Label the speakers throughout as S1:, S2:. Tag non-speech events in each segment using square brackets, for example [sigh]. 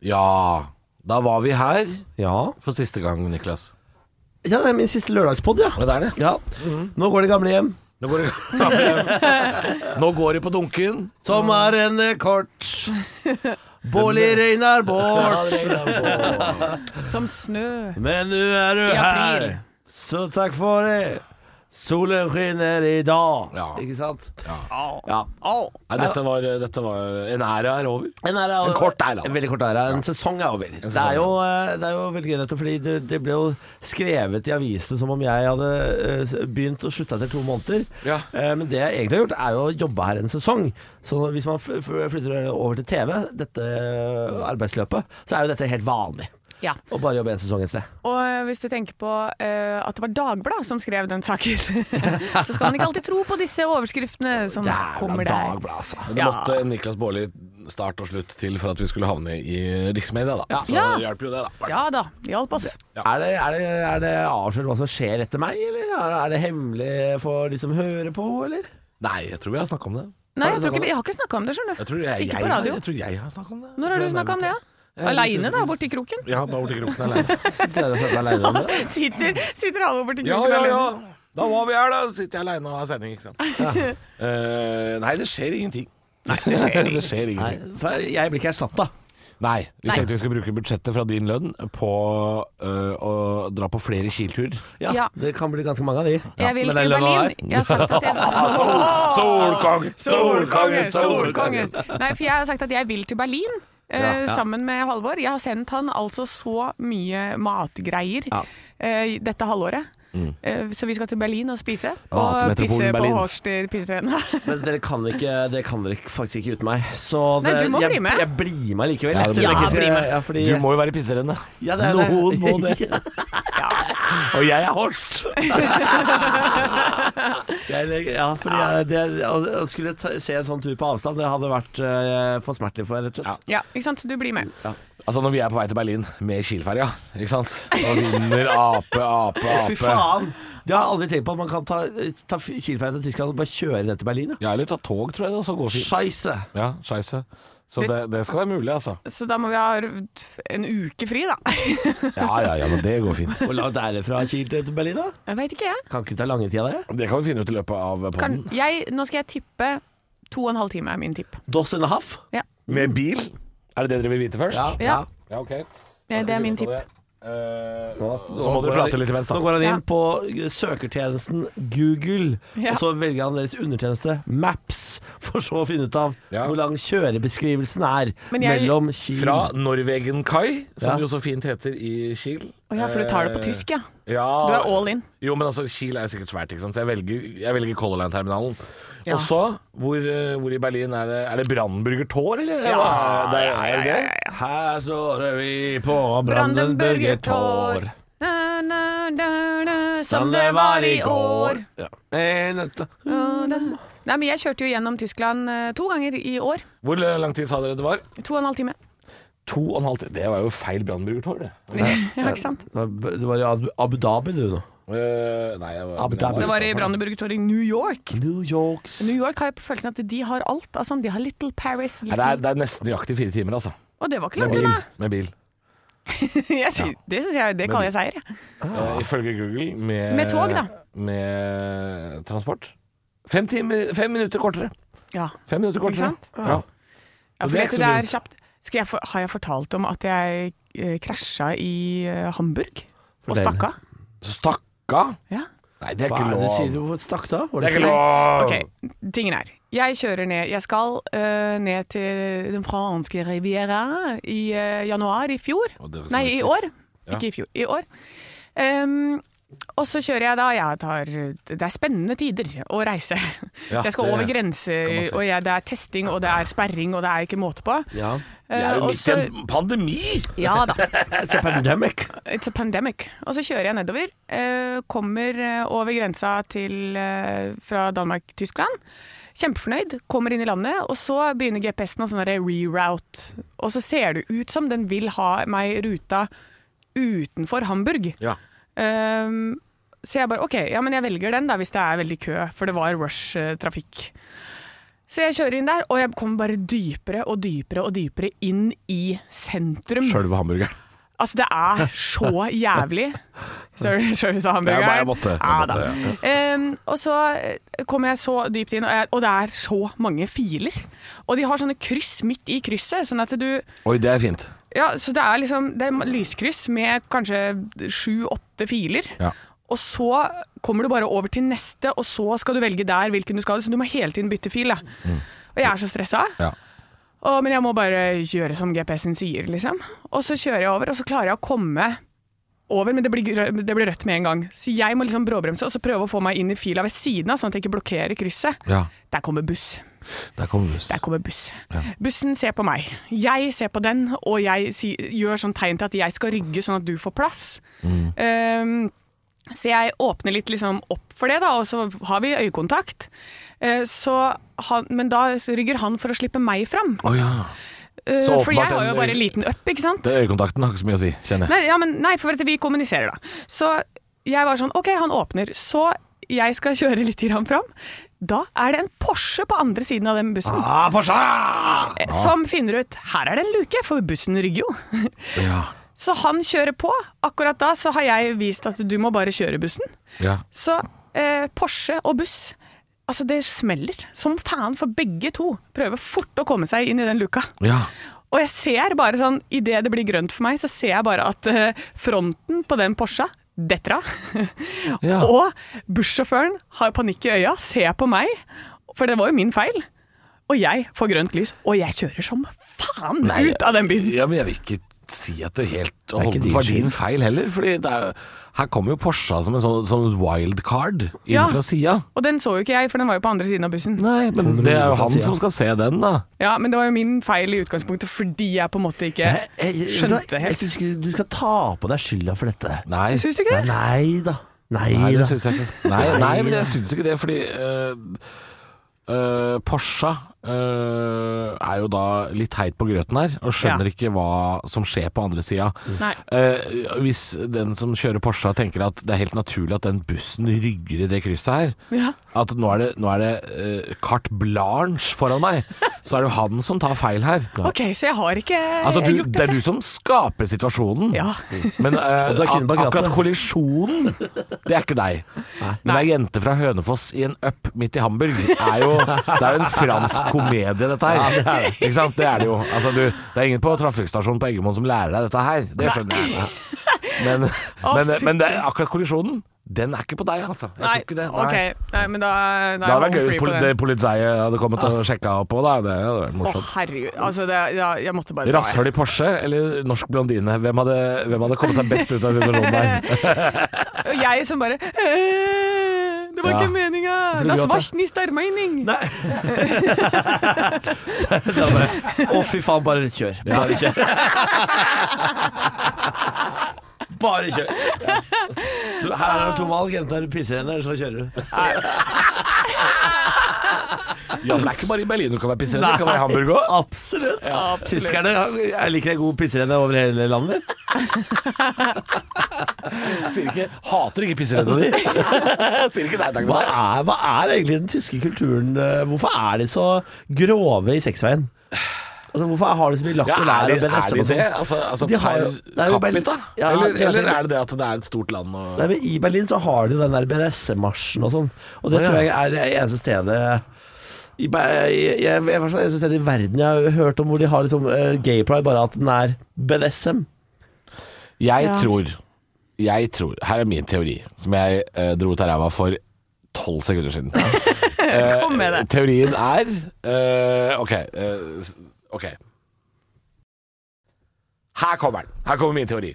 S1: Ja, da var vi her
S2: Ja.
S1: for siste gang, Niklas.
S2: ja, det er min siste lørdagspod, ja.
S1: Ja, det er det.
S2: ja.
S3: Mm.
S2: Nå går det gamle hjem.
S1: Nå går det, Nå går det [laughs] på dunken.
S2: Sommeren er kort.
S3: [laughs]
S2: Båli regner bort.
S3: Som snø.
S2: Men nå er du
S3: I
S2: her.
S3: april.
S2: Så takk for det. Solen skinner i dag.
S1: Ja.
S2: Ikke sant?
S3: Au.
S2: Ja.
S3: Au.
S1: Nei, dette var, dette var En æra er over.
S2: En, æra er over.
S1: En kort æra.
S2: En veldig kort æra. En sesong er over. det,
S1: sesong.
S2: er jo, eh, det er jo veldig gøy dette, fordi det, det ble jo skrevet i avisene som om jeg hadde eh, s- begynt å slutte etter to måneder.
S1: Ja.
S2: Eh, Men det jeg egentlig har gjort, er jo å jobbe her en sesong. Så hvis man f- f- flytter over til TV, dette eh, arbeidsløpet, så er jo dette helt vanlig.
S3: Ja.
S2: Å bare jobbe en sesong et sted.
S3: Og eh, hvis du tenker på eh, at det var Dagbladet som skrev den saken, [laughs] så skal man ikke alltid tro på disse overskriftene som kommer der.
S2: Dagbladet, altså.
S1: Det
S3: Ja.
S1: måtte Niklas Baarli start og slutt til for at vi skulle havne i riksmedia, da. Så
S3: Ja.
S1: det hjelper jo det, da.
S3: Ja da, det hjalp oss.
S2: Er det, er, det, er det avslørt hva som skjer etter meg, eller er er det hemmelig for de som hører på, eller?
S1: Nei, jeg tror vi har snakka om det.
S3: Nei, jeg, tror ikke, jeg har ikke snakka om det, skjønner
S1: Jeg
S3: du.
S1: tror jeg,
S3: Ikke
S1: jeg,
S3: på radio.
S1: Jeg tror jeg har snakka om det.
S3: Når har du snakka om det?
S1: Jeg er litt
S3: Aleine, da,
S1: usikker.
S3: borti kroken?
S1: Ja, bare borti kroken alene.
S2: Sitter dere og snakker alene om det?
S3: [laughs] Sitter, sitter alle borti
S1: Ja,
S3: kroken
S1: ja, ja.
S3: alene?
S1: Da var vi her, da. Sitter jeg aleine og har sending, ikke [laughs] sant. Eh, nei, det skjer ingenting. Nei, det skjer, [laughs] det skjer
S2: Nei,
S1: ingenting.
S2: for jeg blir ikke erstatta.
S1: Nei, vi
S3: Nei.
S1: tenkte vi skulle bruke budsjettet fra din lønn på eh, å dra på flere kilturer.
S2: Ja,
S3: Ja.
S2: Det kan bli ganske mange av de.
S3: Jeg vil
S2: Men den
S3: til
S2: lønna der-
S3: Berlin. Jeg har sagt
S1: [laughs]
S3: at jeg
S1: Solkongen,
S3: Solkongen, solkongen. Nei, for jeg har sagt at jeg vil til Berlin. eh,
S2: Ja, ja.
S3: Sammen med Halvor. Jeg har sendt han altså så mye matgreier
S2: Ja. Mm.
S3: eh, dette halvåret. Eh, så vi skal til Berlin og spise.
S1: til
S3: Og
S1: metropolen
S3: pisse på
S1: Berlin.
S3: Horster pissetreene.
S2: Men dere kan ikke, det kan dere faktisk ikke uten meg. Så
S3: Nei,
S2: det-
S3: du må
S2: jeg,
S3: bli med.
S2: Jeg blir med likevel.
S1: Ja,
S2: jeg,
S1: du må
S2: Selv om jeg
S3: bli
S2: ikke
S3: med.
S2: skal- Ja, fordi,
S1: Du må jo være pisserenne.
S2: ja, det er det.
S1: Noen må
S2: [laughs]
S1: det. Og jeg er [laughs] Horst.
S2: Jeg, ja, fordi jeg, det, er- å- å skulle ta, se en sånn tur på avstand, det hadde vært eh, for smertelig for meg, rett og slett.
S3: [laughs] Ja, ikke sant? Så du blir med.
S1: Altså når vi er på vei til Berlin med Kielferja, ikke sant. Og vinner ape, ape, ape.
S2: Fy faen! Det har jeg aldri tenkt på, at man kan ta, ta Kielferja til Tyskland og bare kjøre den til Berlin. Ja.
S1: Ja, eller ta tog, tror jeg, og så går fint.
S2: Scheisse!
S1: Ja, scheisse. Så det, det skal være mulig, altså.
S3: Så da må vi ha en uke fri, da.
S1: Ja, ja, ja, men det går fint.
S2: Hvor langt er det fra Kiel til til Berlin, da?
S3: Jeg veit ikke, jeg.
S2: Kan ikke ta lange tida, det.
S1: Det kan vi finne ut i løpet av
S3: Kan,
S1: podden.
S3: jeg. Nå skal jeg tippe to og en halv time, er min tipp.
S2: Dos and a half?
S3: Ja.
S1: Med bil? Er det det dere vil vite først?
S3: Ja.
S1: ja ok.
S3: Eh, Det er min tipp.
S1: Eh, Så må dere prate litt imens,
S2: Nå
S1: da.
S2: går han inn
S3: Ja.
S2: på eh, søkertjenesten Google,
S3: Ja.
S2: og så velger han deres undertjeneste Maps, for så å finne ut av
S1: Ja.
S2: hvor lang kjørebeskrivelsen er
S3: Men jeg-
S2: mellom Kiel
S1: Fra Norwegenkai, som
S2: Ja.
S1: jo så fint heter i Kiel.
S3: Å ja, for du tar det på
S1: Eh,
S3: tysk, ja.
S1: Ja.
S3: Du er all in.
S1: Jo, men altså, Kiel er sikkert svært, ikke sant? så jeg velger, jeg velger Color Line-terminalen.
S3: Ja.
S1: Og så, hvor, eh, hvor i Berlin er det Er det Brandenburger Tor, eller?
S3: Ja,
S1: Hva- det er, er det det?
S2: Her står vi på
S3: Brandenburger Tor. Na, na, na, na, som det var i år.
S2: Ja.
S1: Eh,
S2: En, et,
S3: Og da- Nei, men jeg kjørte jo gjennom Tyskland eh, to ganger i år.
S1: Hvor lang tid sa dere det var?
S3: To og en halv time.
S1: To og en halv time. Det var jo feil Brandenburger Tor, det.
S3: Ja, ikke sant?
S2: det var i Abu- Abu Dhabi, du, nå.
S1: Eh, nei, jeg var,
S2: Abu Dhabi.
S3: Det var i Brandenburger Tor i New York.
S2: New Yorks
S3: New York har jeg på følelsen at de har alt. Altså, de har Little Paris.
S1: Nei, det, er,
S3: Little...
S1: det er nesten nøyaktig fire timer, altså.
S3: Og det var
S1: Med
S3: ikke langt
S1: bil.
S3: unna. [laughs]
S1: Med bil.
S3: Jeg sy- Det synes jeg, det kaller jeg seier. jeg.
S1: Eh, ifølge Google med,
S3: Med tog, da.
S1: Med transport. Fem, timer, fem minutter kortere.
S3: Ja.
S1: Fem minutter
S3: Ikke
S1: kortere.
S3: sant?
S1: Ja.
S3: Ja,
S1: Og
S3: for
S1: det er
S3: det,
S1: ikke så
S3: det er
S1: dumt.
S3: kjapt. Skal jeg for, har jeg fortalt om at jeg eh, krasja i eh, Hamburg? Og
S2: Fortell.
S3: stakk av?
S1: Så stakka?
S3: Ja.
S1: Nei, det er
S2: Hva
S1: ikke
S2: er det du sier?
S1: lov.
S2: Hvorfor stakk da? Var
S1: Det er ikke
S2: for-
S1: lov!
S3: Ok, tingen er Jeg kjører ned Jeg skal øh, ned til den franske riviera i øh, januar i fjor
S1: Og det var så
S3: Nei, i
S1: mystisk.
S3: år
S1: Ja.
S3: Ikke i fjor, i år Ehm, Og så kjører jeg da jeg tar, Det er spennende tider å reise
S1: Ja,
S3: Jeg skal
S1: det
S3: over
S1: man
S3: grenser
S1: si.
S3: Og jeg, det er testing og det er sperring Og det er ikke måte på
S2: Ja.
S1: Vi er
S3: Eh,
S1: jo
S3: og
S1: midt i
S3: så-
S1: en [laughs] pandemi!
S3: Ja da
S2: It's a pandemic.
S3: It's a pandemic. Og så kjører jeg nedover. eh, kommer eh, over grensa til, eh, fra Danmark-Tyskland. Kjempefornøyd. Kommer inn i landet, og så begynner GPS-en å sånn derre reroute. Og så ser det ut som den vil ha meg i ruta utenfor Hamburg.
S1: Ja.
S3: Ehm, eh, så jeg bare OK, ja, men jeg velger den da hvis det er veldig kø, for det var rush-trafikk. Så jeg kjører inn der, og jeg kommer bare dypere og dypere og dypere inn i sentrum.
S1: Sjølve hamburgeren.
S3: Altså, det er så jævlig. Service av hamburger.
S1: Ja, bare jeg måtte. Jeg
S3: Ja, da.
S1: måtte,
S3: Ehm, og så eh, kommer jeg så dypt inn, og, jeg, og det er så mange filer. Og de har sånne kryss midt i krysset, sånn at du
S1: Oi, det er fint.
S3: Ja, så det er liksom Det er lyskryss med kanskje sju-åtte filer.
S1: Ja.
S3: Og så kommer du bare over til neste, og så skal du velge der hvilken du skal. Så du må hele tiden bytte fil. Da.
S1: Mm.
S3: Og jeg er så stressa.
S1: Ja.
S3: Og, men jeg må bare gjøre som GPS-en sier, liksom. Og så kjører jeg over, og så klarer jeg å komme over, men det blir, grø- det blir rødt med en gang. Så jeg må liksom bråbremse og så prøve å få meg inn i fila ved siden av, sånn at jeg ikke blokkerer krysset.
S1: ja.
S3: Der kommer buss.
S1: Der kommer buss.
S3: Der kommer buss. Bussen ser på meg. Jeg ser på den, og jeg si, gjør sånn tegn til at jeg skal rygge sånn at du får plass. Ehm, så jeg åpner litt liksom opp for det, da, og så har vi øyekontakt. Eh, så han, men da rygger han for å slippe meg fram.
S1: Å ja.
S3: Eh,
S1: Så
S3: for jeg
S1: åpenbart
S3: har jo
S1: en-
S3: bare liten up, ikke sant?
S1: Den øyekontakten har ikke så mye å si, kjenner jeg.
S3: Nei, ja, men, nei for at vi kommuniserer da. Så jeg var sånn, ok, han åpner. Så jeg skal [laughs] kjøre litt grann fram. Da er det en Porsche på andre siden av den bussen.
S1: Ah, Porsche!
S3: eh, Som finner ut, her er det en luke, for bussen rygger jo. [laughs]
S1: Ja.
S3: Så han kjører på. Akkurat da så har jeg vist at du må bare kjøre bussen.
S1: ja.
S3: Så eh, Porsche og buss, altså det smeller som faen for begge to. Prøver fort å komme seg inn i den luka.
S1: Ja.
S3: Og jeg ser bare sånn, idet det blir grønt for meg, så ser jeg bare at eh, fronten på den Porscha detter av.
S1: [laughs] Ja.
S3: Og bussjåføren har panikk i øya, ser på meg, for det var jo min feil. Og jeg får grønt lys, og jeg kjører som faen ut av den byen.
S1: Ja, men jeg vil ikke si at det helt
S2: er ikke
S1: holdent
S2: din
S1: var
S2: skyld.
S1: din feil heller. Fordi det er, her kommer jo Porscha som en sånn, sånn wildcard inn
S3: Ja.
S1: fra sida.
S3: Og den så jo ikke jeg, for den var jo på andre siden av bussen.
S1: Nei, men det er jo
S2: fra
S1: han
S2: siden.
S1: som skal se den, da.
S3: Ja, Men det var jo min feil i utgangspunktet, fordi jeg på en måte ikke
S2: Jeg,
S1: Eh,
S2: jeg, jeg, jeg,
S3: skjønte
S2: jeg
S3: helt.
S2: synes ikke du skal ta på deg skylda for dette.
S1: Nei,
S3: Syns du ikke det?
S2: Nei da. Nei,
S1: nei det
S2: da. [laughs]
S1: syns jeg ikke. [laughs] Nei, nei, men jeg syns ikke det, fordi øh, øh, Porscha øh, er jo da litt heit på grøten her, og skjønner
S3: Ja.
S1: ikke hva som skjer på andre sida.
S3: Nei.
S1: Eh, hvis den som kjører Porscha tenker at det er helt naturlig at den bussen rygger i det krysset her,
S3: Ja.
S1: at nå er det, nå er det eh, carte blanche foran meg, så er det jo han som tar feil her.
S3: OK, så jeg har ikke
S1: Altså, du,
S3: gjort
S1: det er du som skaper situasjonen,
S3: Ja.
S1: men eh,
S2: Og du er kvinnen bak
S1: ak- akkurat
S2: rattet.
S1: kollisjonen, det er ikke deg. Men ei jente fra Hønefoss i en up midt i Hamburg er jo Det er jo en
S3: [laughs]
S1: fransk komedie, dette her. Ikke sant? Det er det jo. Altså, du, det er ingen på trafikkstasjonen på Eggemoen som lærer deg dette her. Det skjønner jeg. Men, [laughs] men,
S3: fytti.
S1: men det, er akkurat kollisjonen, den er ikke på deg, altså. Jeg tror ikke det. Nei.
S3: Nei. ok. Nei, men da, da
S1: Det
S3: er
S1: hadde vært gøy
S3: jeg home
S1: hvis
S3: free på
S1: poli-
S3: den. Ah.
S1: det politiet hadde kommet og sjekka opp på, da. Det hadde vært
S3: Å,
S1: morsomt.
S3: herregud. Altså, det, ja, jeg måtte bare dra. jeg.
S1: Rasshøl i Porsche eller norsk blondine? Hvem hadde, hvem hadde kommet seg best ut av situasjonen der?
S3: Og jeg som bare «Eh, Det var
S1: Ja.
S3: ikke meninga!
S2: Hvorfor
S3: Das
S2: gråter?
S3: war's nicht der Meining!
S2: Nei. Det er bare, å, fy faen, bare kjør. Bare
S1: [laughs]
S2: kjør. Bare kjør. Du, her er det to valg. Enten er du pisser henne, eller så kjører du.
S1: [laughs] Ja, for det er ikke bare i Berlin du kan være pissere, du kan være i Hamburg òg.
S2: Absolutt. Tyskerne jeg liker en god pisserenne over hele landet.
S1: Sier ikke Hater ikke pisserennene di. Sier ikke [laughs] nei takk til
S2: Hva
S1: meg.
S2: er, hva er egentlig den tyske kulturen eh, Hvorfor er de så grove i sexveien? Altså, hvorfor har de så mye lakk
S1: Ja,
S2: og
S1: er,
S2: lær og
S1: det- er
S2: BDSM
S1: de
S2: og
S1: det?
S2: sånn?
S1: Altså, altså
S2: De har
S1: per
S2: jo- det er jo Berlin-
S1: capita?
S2: Ja,
S1: eller,
S2: det er
S1: eller
S2: det.
S1: er det det at det er et stort land og
S2: Nei, men I Berlin så har de jo den der BDSM-marsjen og sånn. Og det
S1: Å, ja.
S2: tror jeg er det eneste stedet i, Be- jeg, jeg, jeg, det eneste stedet i verden jeg har hørt om hvor de har liksom, eh, gay pride, bare at den er BDSM.
S1: Jeg
S3: Ja.
S1: tror Jeg tror Her er min teori, som jeg eh, dro ut av ræva for tolv sekunder
S3: [laughs]
S1: siden. Eh,
S3: Kom med det.
S1: Teorien er eh, OK. eh, s- ok. Her kommer den. Her kommer min teori.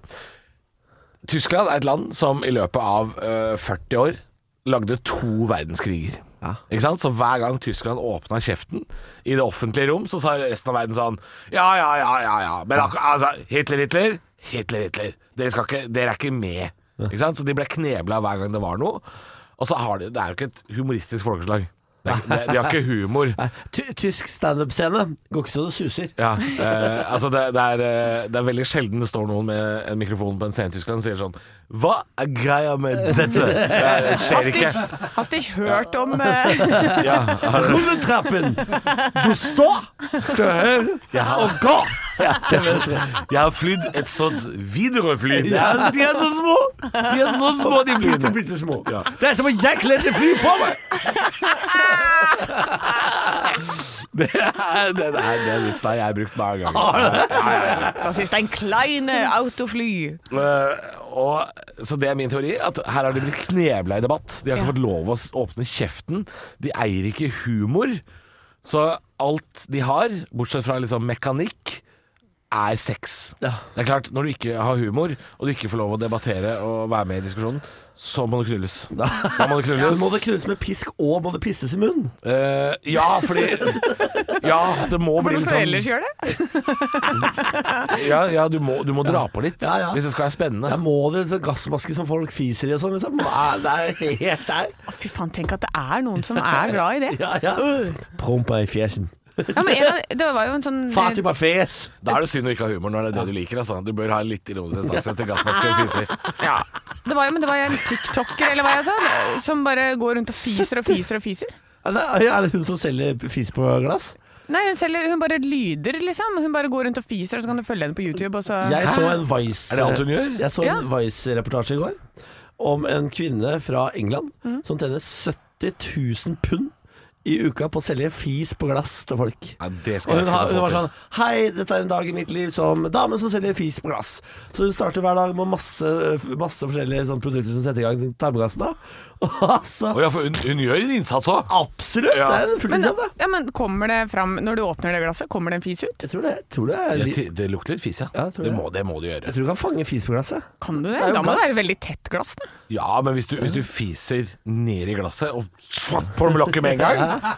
S1: Tyskland er et land som i løpet av eh, 40 år lagde to verdenskriger. Ikke sant? Så hver gang Tyskland åpna kjeften i det offentlige rom, så sa resten av verden sånn Ja, ja, ja, ja, ja. Men akkur- altså, Hitler, Hitler, Hitler, Hitler. Dere, skal ikke, dere er ikke med. Ikke sant? Så de ble knebla hver gang det var noe. Og så har de Det er jo ikke et humoristisk folkeslag. Det er, det, de har ikke humor.
S2: Nei, ty- Tysk standup-scene går ikke så det suser.
S1: Ja, eh, altså det, det, er, eh, det er veldig sjelden det står noen med en mikrofon på en scene i Tyskland og sier sånn Hva er greia med dette?
S2: [laughs]
S1: Det skjer
S3: Hastig,
S1: ikke. altså-
S3: hastig hørt om eh,
S1: Ja, altså- har-
S2: Rulletrappen! Du står til høyre
S1: jeg har,
S2: og går til venstre.
S1: jeg har flydd et sånt Widerøe-fly.
S2: Ja, de er så små! De er så små, de bitte, bitte små.
S1: Ja. [laughs]
S2: Det er som om jeg kledde fly på meg!
S1: Det er den er- den vitsen har jeg brukt mange ganger. Ja, ja, ja.
S3: Das ist ein kleine Autofly.
S1: Eh, og, så det er min teori, at her har de blitt knebla i debatt. De har ikke
S3: Ja.
S1: fått lov å s- åpne kjeften. De eier ikke humor. Så alt de har, bortsett fra liksom mekanikk, er sex.
S2: Ja.
S1: Det er klart, når du ikke har humor, og du ikke får lov å debattere og være med i diskusjonen, så må du knulles. Da må du knulles.
S2: Må det knulles med pisk, og må det pisses i munnen?
S1: Eh, ja, fordi Ja, det må bli
S3: Hvordan
S1: litt
S3: skal du
S1: sånn
S3: ellers gjøre det?
S1: Ja, ja du, må, du må dra på litt
S2: Ja, ja.
S1: hvis det skal være spennende.
S2: Jeg må det sånn gassmaske som folk fiser i og sånn, liksom. Nei, Det er helt der.
S3: Å, Fy faen, tenk at det er noen som er glad i
S2: [laughs]
S3: det.
S2: Ja, ja. Prompa i fjesen.
S3: Ja, men en av, det var jo en sånn
S2: Fatima fjes!
S1: Da er det synd å ikke ha humor når det er det du liker. Altså. Du bør ha en litt ironisk distanse til gassmaske og fiser.
S3: Ja. Det var jo men det var jo en tiktoker eller hva jeg sa, som bare går rundt og fiser og fiser og fiser.
S2: Er det, er det hun som selger fis på glass?
S3: Nei, hun, selger, hun bare lyder, liksom. Hun bare går rundt og fiser, og så kan du følge henne på YouTube. Og så
S2: Jeg så en Vice
S1: Er det alt hun gjør?
S2: Jeg så en Vice-reportasje i går om en kvinne fra England
S3: Mm.
S2: som tjener 70 000 pund i uka på å selge fis på glass til folk.
S1: Nei, det
S2: Og
S1: skal jeg
S2: hun,
S1: ikke
S2: har- hun
S1: få
S2: var
S1: til.
S2: sånn Hei, dette er en dag i mitt liv som dame som selger fis på glass. Så hun starter hver dag med masse, masse forskjellige sånne produkter som setter i gang tarmgassen. da. [laughs] Og altså,
S1: Å ja, for hun, hun gjør en innsats òg.
S2: absolutt!
S1: Ja.
S2: Det er en
S3: men, altså,
S2: fulltidsjobb, det.
S3: ja, men kommer det fram Når du åpner det glasset, kommer det en fis ut?
S2: Jeg tror det, jeg tror det er litt
S1: Det lukter litt fis, ja.
S2: Ja, jeg tror
S1: det,
S2: det.
S1: må, det må du
S2: Jeg
S1: gjøre.
S2: tror du kan fange fis på glasset.
S3: Kan du det?
S2: Det er jo
S3: da må det
S2: glass.
S3: være veldig tett glass, da.
S1: Ja, men hvis du, hvis du fiser ned i glasset og svatt på med lokket med en [laughs] gang,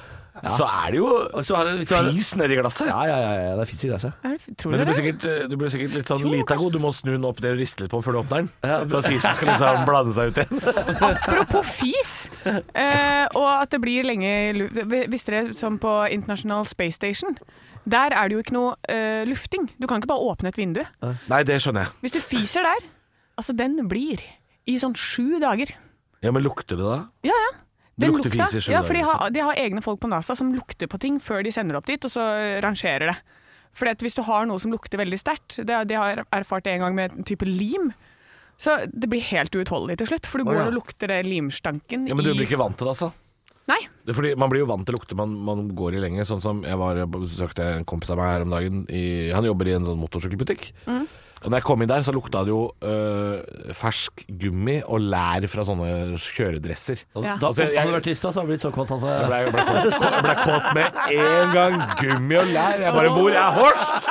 S1: så er det jo
S2: Og så har du- hvis du har-
S1: fis nedi glasset.
S2: Ja, ja, ja, ja, det er fis i glasset.
S3: Er det- Tror
S1: Men du blir,
S3: du det?
S1: sikkert, du blir sikkert litt sånn
S3: Jo,
S1: litago. Du må snu den opp der og riste litt på den før du åpner den. For at fisen skal liksom blande seg ut igjen.
S3: Apropos fis, eh, og at det blir lenge i lu- Hvis dere som på International Space Station, der er det jo ikke noe eh, lufting. Du kan ikke bare åpne et vindu.
S1: Nei, det skjønner jeg.
S3: Hvis du fiser der, altså den blir i sånn sju dager.
S1: Ja, Men lukter det da?
S3: Ja, ja. Den
S1: Lukter
S3: lukta-
S1: fis i liksom. sju
S3: ja, for de
S1: dager,
S3: har, de har egne folk på NASA som lukter på ting før de sender det opp dit, og så rangerer det. Fordi at hvis du har noe som lukter veldig sterkt, det, de har jeg erfart det en gang med en type lim, så det blir helt uutholdelig til slutt, for du går
S1: ja.
S3: og lukter det limstanken
S1: Ja, Men du
S3: i
S1: blir ikke vant til det, altså?
S3: Nei.
S1: Det er fordi Man blir jo vant til lukter man, man går i lenge. Sånn som Jeg var besøkte en kompis av meg her om dagen. I, han jobber i en sånn motorsykkelbutikk. Og Når jeg kom inn der, så lukta det jo øh, fersk gummi og lær fra sånne kjøredresser.
S3: Ja.
S2: Da,
S1: Altså, jeg-
S2: hadde du vært tyst, da, så hadde det blitt så kåt at
S1: Jeg ble, jeg ble, kåt, jeg ble kåt med en gang. Gummi og lær. Jeg bare Hvor er Horst?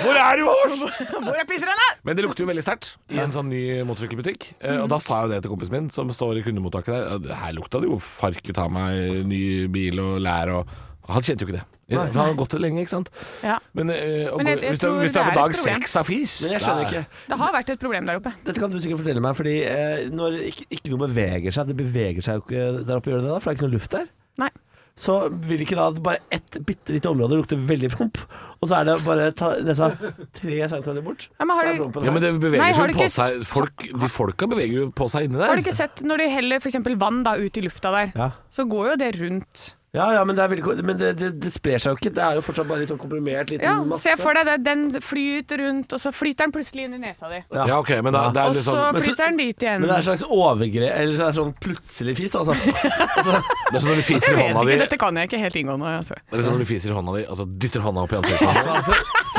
S1: Hvor er du, Horst?
S3: Hvor er pisserne?
S1: Men det lukter jo veldig sterkt i en sånn ny motorsykkelbutikk. Eh, Og da sa jeg jo det til kompisen min, som står i kundemottaket der. at Her lukta det jo farke ta meg ny bil og lær og Han kjente jo ikke det. For han har gått det lenge, ikke sant.
S3: Ja.
S1: Men, eh, og
S3: Men jeg-
S1: gå-
S3: jeg
S1: hvis, du,
S3: tror
S1: hvis du er
S3: det er
S1: på dag
S3: et problem.
S1: seks av fis
S2: Men jeg skjønner
S1: da-
S2: ikke.
S3: Det har vært et problem der oppe.
S2: Dette kan du sikkert fortelle meg, fordi eh, når ikke, ikke noe beveger seg Det beveger seg jo ikke der oppe, gjør det det da? For det er ikke noe luft der.
S3: Nei.
S2: Så vil ikke da bare ett bitte lite område lukte veldig promp, og så er det bare ta, nesa tre centimeter bort.
S3: Ja, men har
S2: så er
S3: du-
S2: prompen
S1: Ja,
S2: her.
S1: men det beveger
S3: Nei, har
S1: jo
S3: du
S1: på
S3: ikke-
S1: seg folk, De folka beveger jo på seg inni der.
S3: Har du ikke sett når de heller f.eks. vann da ut i lufta der,
S2: Ja.
S3: så går jo det rundt.
S2: ja, ja, men, det, er veldig, men det, det, det sprer seg jo ikke. Det er jo fortsatt bare litt sånn komprimert liten
S3: Ja,
S2: masse.
S3: Se for deg det, den flyter rundt, og så flyter den plutselig inn i nesa di.
S1: ja. ok, men da, det er
S3: Og
S1: litt
S3: så
S1: sånn
S2: Men så-
S3: flyter den dit igjen.
S2: men det er en slags overgrep, eller så er det sånn plutselig fis,
S3: [laughs]
S2: da. Altså.
S1: Det er sånn når du
S3: Jeg
S1: fiser i
S3: vet
S1: hånda
S3: ikke,
S1: di
S3: dette kan jeg ikke helt inngående. Altså.
S1: Det er sånn når du fiser i hånda di, altså dytter hånda opp i ansiktet.
S2: Altså,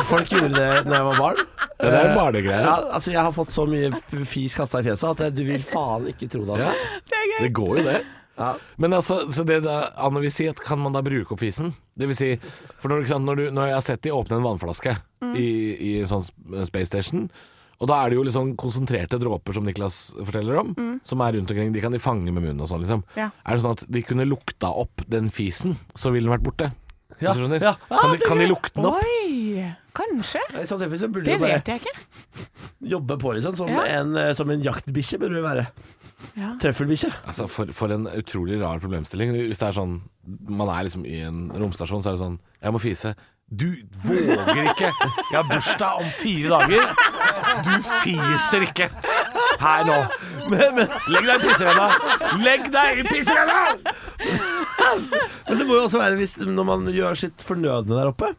S2: Folk gjorde det da jeg var barn.
S1: Eh, Ja, det er barnegreier.
S2: Ja, altså, jeg har fått så mye fis kasta i fjeset at jeg- du vil faen ikke tro det, altså.
S3: Det er gøy.
S1: Det går jo, det.
S2: Ja.
S1: Men altså, så det da, Anne vil si, at kan man da bruke opp fisen? Det vil si, for når, ikke sant, når, du, når jeg har sett de åpne en vannflaske
S3: Mm.
S1: i, i en sånn sp- space station, og da er det jo liksom konsentrerte dråper som Niklas forteller om, som er rundt omkring. De kan de fange med munnen og sånn, liksom.
S3: Mm. Ja.
S1: Er det sånn at de kunne lukta opp den fisen, så ville den vært borte? Hvis
S2: Ja,
S1: du skjønner?
S2: ja. Ah,
S1: Kan, de,
S2: det er
S1: kan de
S2: gøy.
S1: lukte den opp?
S3: Oi, kanskje.
S2: I så tilfelle så burde
S3: Det
S2: jo bare
S3: vet jeg ikke.
S2: jobbe på, liksom. Som
S3: Ja.
S2: en, eh, som en jaktbikkje burde det være.
S3: Ja.
S2: Trøffelbikkje.
S1: Altså, for, for en utrolig rar problemstilling. Hvis det er sånn Man er liksom i en romstasjon, så er det sånn Jeg må fise. Du våger ikke! Jeg har bursdag om fire dager! Du fiser ikke! Her nå. Men, men, legg deg i pisserenna! Legg deg i pisserenna!
S2: Men det må jo også være hvis, når man gjør sitt fornødne der oppe,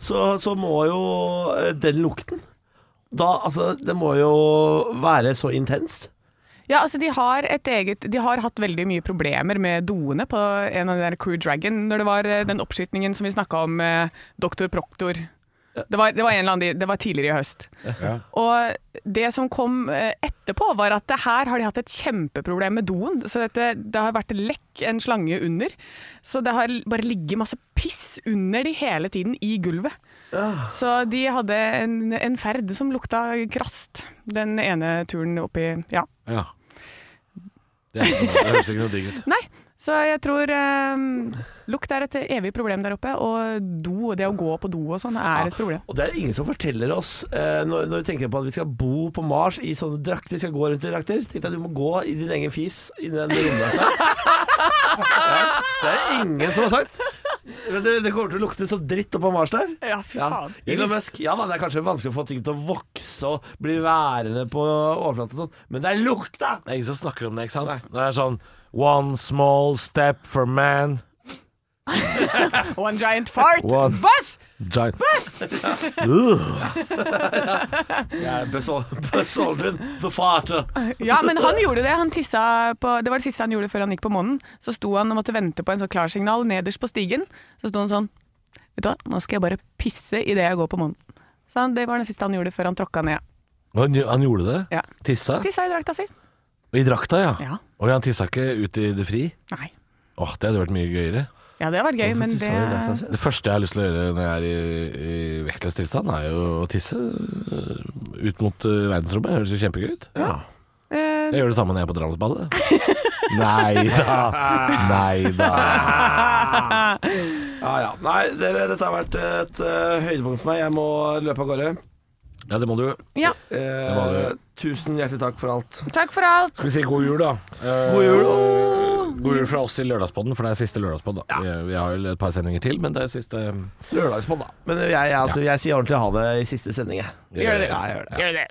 S2: så, så må jo eh, den lukten da, altså, Det må jo være så intenst.
S3: Ja, altså de har, et eget, de har hatt veldig mye problemer med doene på en av de der Crew Dragon, når det var eh, den oppskytningen som vi snakka om med Dr. Proktor. Det var, det, var en eller annen, det var tidligere i høst.
S1: Ja.
S3: Og det som kom eh, etterpå, var at det her har de hatt et kjempeproblem med doen. Så dette, det har vært lekk en slange under. Så det har bare ligget masse piss under de hele tiden i gulvet. Så de hadde en, en ferd som lukta krast den ene turen oppi Ja.
S1: ja. Det, er, det høres ikke noe digg ut.
S3: Nei, så jeg tror eh, lukt er et evig problem der oppe, og do, det å gå på do og sånn er et problem.
S2: Og det er det ingen som forteller oss eh, når, når vi tenker på at vi skal bo på Mars i sånne drakter, skal gå rundt i drakter. Tenk deg at du må gå i din egen fis i den romdrakta. [laughs] Ja, det er ingen som har sagt. Men det, det kommer til å lukte så dritt oppå Mars der.
S3: Ja, fy
S2: Ja.
S3: faen.
S2: Elon Musk, ja da, det er kanskje vanskelig å få ting til å vokse og bli værende på overflaten og sånn, men det er lukta!
S1: Det er ingen som snakker om det, ikke sant? Det er sånn One small step for man.
S3: One giant fart.
S1: One.
S3: Buzz!
S1: Giant. Ugh.
S2: Jeg er [laughs] besoldren for fart.
S3: Ja, men han gjorde det. Han tissa på Det var det siste han gjorde før han gikk på månen. Så sto han og måtte vente på en sånn klarsignal nederst på stigen. Så sto han sånn Vet du hva, nå skal jeg bare pisse idet jeg går på månen. Så han, det var det siste han gjorde før han tråkka ned.
S1: Han, han gjorde det?
S3: Ja.
S1: Tissa?
S3: Tissa i drakta si.
S1: I drakta, ja.
S3: Ja.
S1: Og han tissa ikke ut i det fri?
S3: Nei.
S1: Åh, Det hadde vært mye gøyere.
S3: Ja, det hadde vært gøy, men det
S1: Det første jeg har lyst til å gjøre når jeg er i, i vektløs tilstand, er jo å tisse øh, ut mot øh, verdensrommet. Det høres jo kjempegøy ut.
S3: Eh,
S1: Jeg gjør det samme når jeg er på Drammensballet. Nei da. Nei da.
S2: Ja, ja. Nei, dere, dette har vært et eh, høydepunkt for meg. Jeg må løpe av gårde.
S1: Ja, det må du.
S3: Ja.
S2: Eh,
S1: var det.
S2: tusen hjertelig takk for alt.
S3: Takk for alt.
S1: Skal vi si god jul, da? Eh,
S2: God jul.
S1: og- God jul fra oss til Lørdagspodden, for det er siste Lørdagspodden. da. Vi, vi har jo et par sendinger til, men det er siste
S2: Lørdagspod, da. Men jeg, jeg, altså, jeg sier ordentlig ha det i siste sending, jeg.
S3: Gjør det.
S2: Ja, jeg gjør det.
S3: Gjør det.